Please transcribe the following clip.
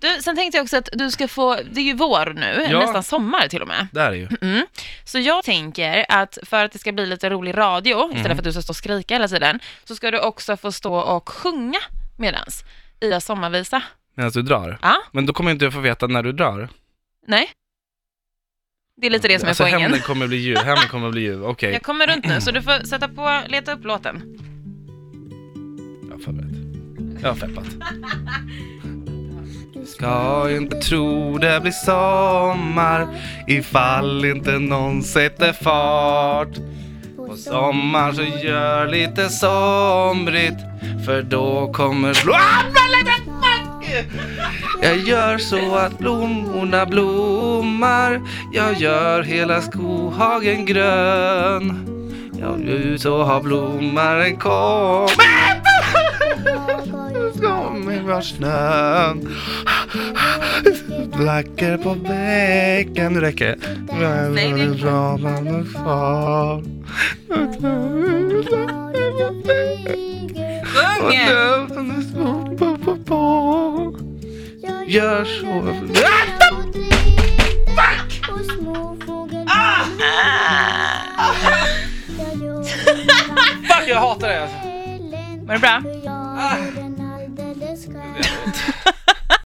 Du, sen tänkte jag också att du ska få, det är ju vår nu, Ja. nästan sommar till och med. Det här är ju. Mm. Så jag tänker att för att det ska bli lite rolig radio, istället Mhm. för att du ska stå och skrika hela tiden, så ska du också få stå och sjunga medans i sommarvisa. Medan du drar. Ja, Men då kommer inte jag få veta när du drar. nej? Det är lite det som är alltså poängen. hämnden kommer bli ljuv, hämnden kommer bli ljuv. Okej, Jag kommer runt nu, så du får sätta på, leta upp låten. jag har förberett. Jag har peppat. Ska inte tro det blir sommar ifall inte någon sätter fart. På sommar så gör lite somrigt för då kommer blå... Ah, men lite fuck! Jag gör så att blommorna blommar Jag gör hela skohagen grön Jag är ut och har blommaren kom Kommer var snön Blacker på bäcken Nu räcker det. Nej, det är inte. Ramarna far. Och Sjung! dövarna sopar på på. Gör så. Ah! Fuck, jag hatar det alltså. Ah. Var det bra? Ah.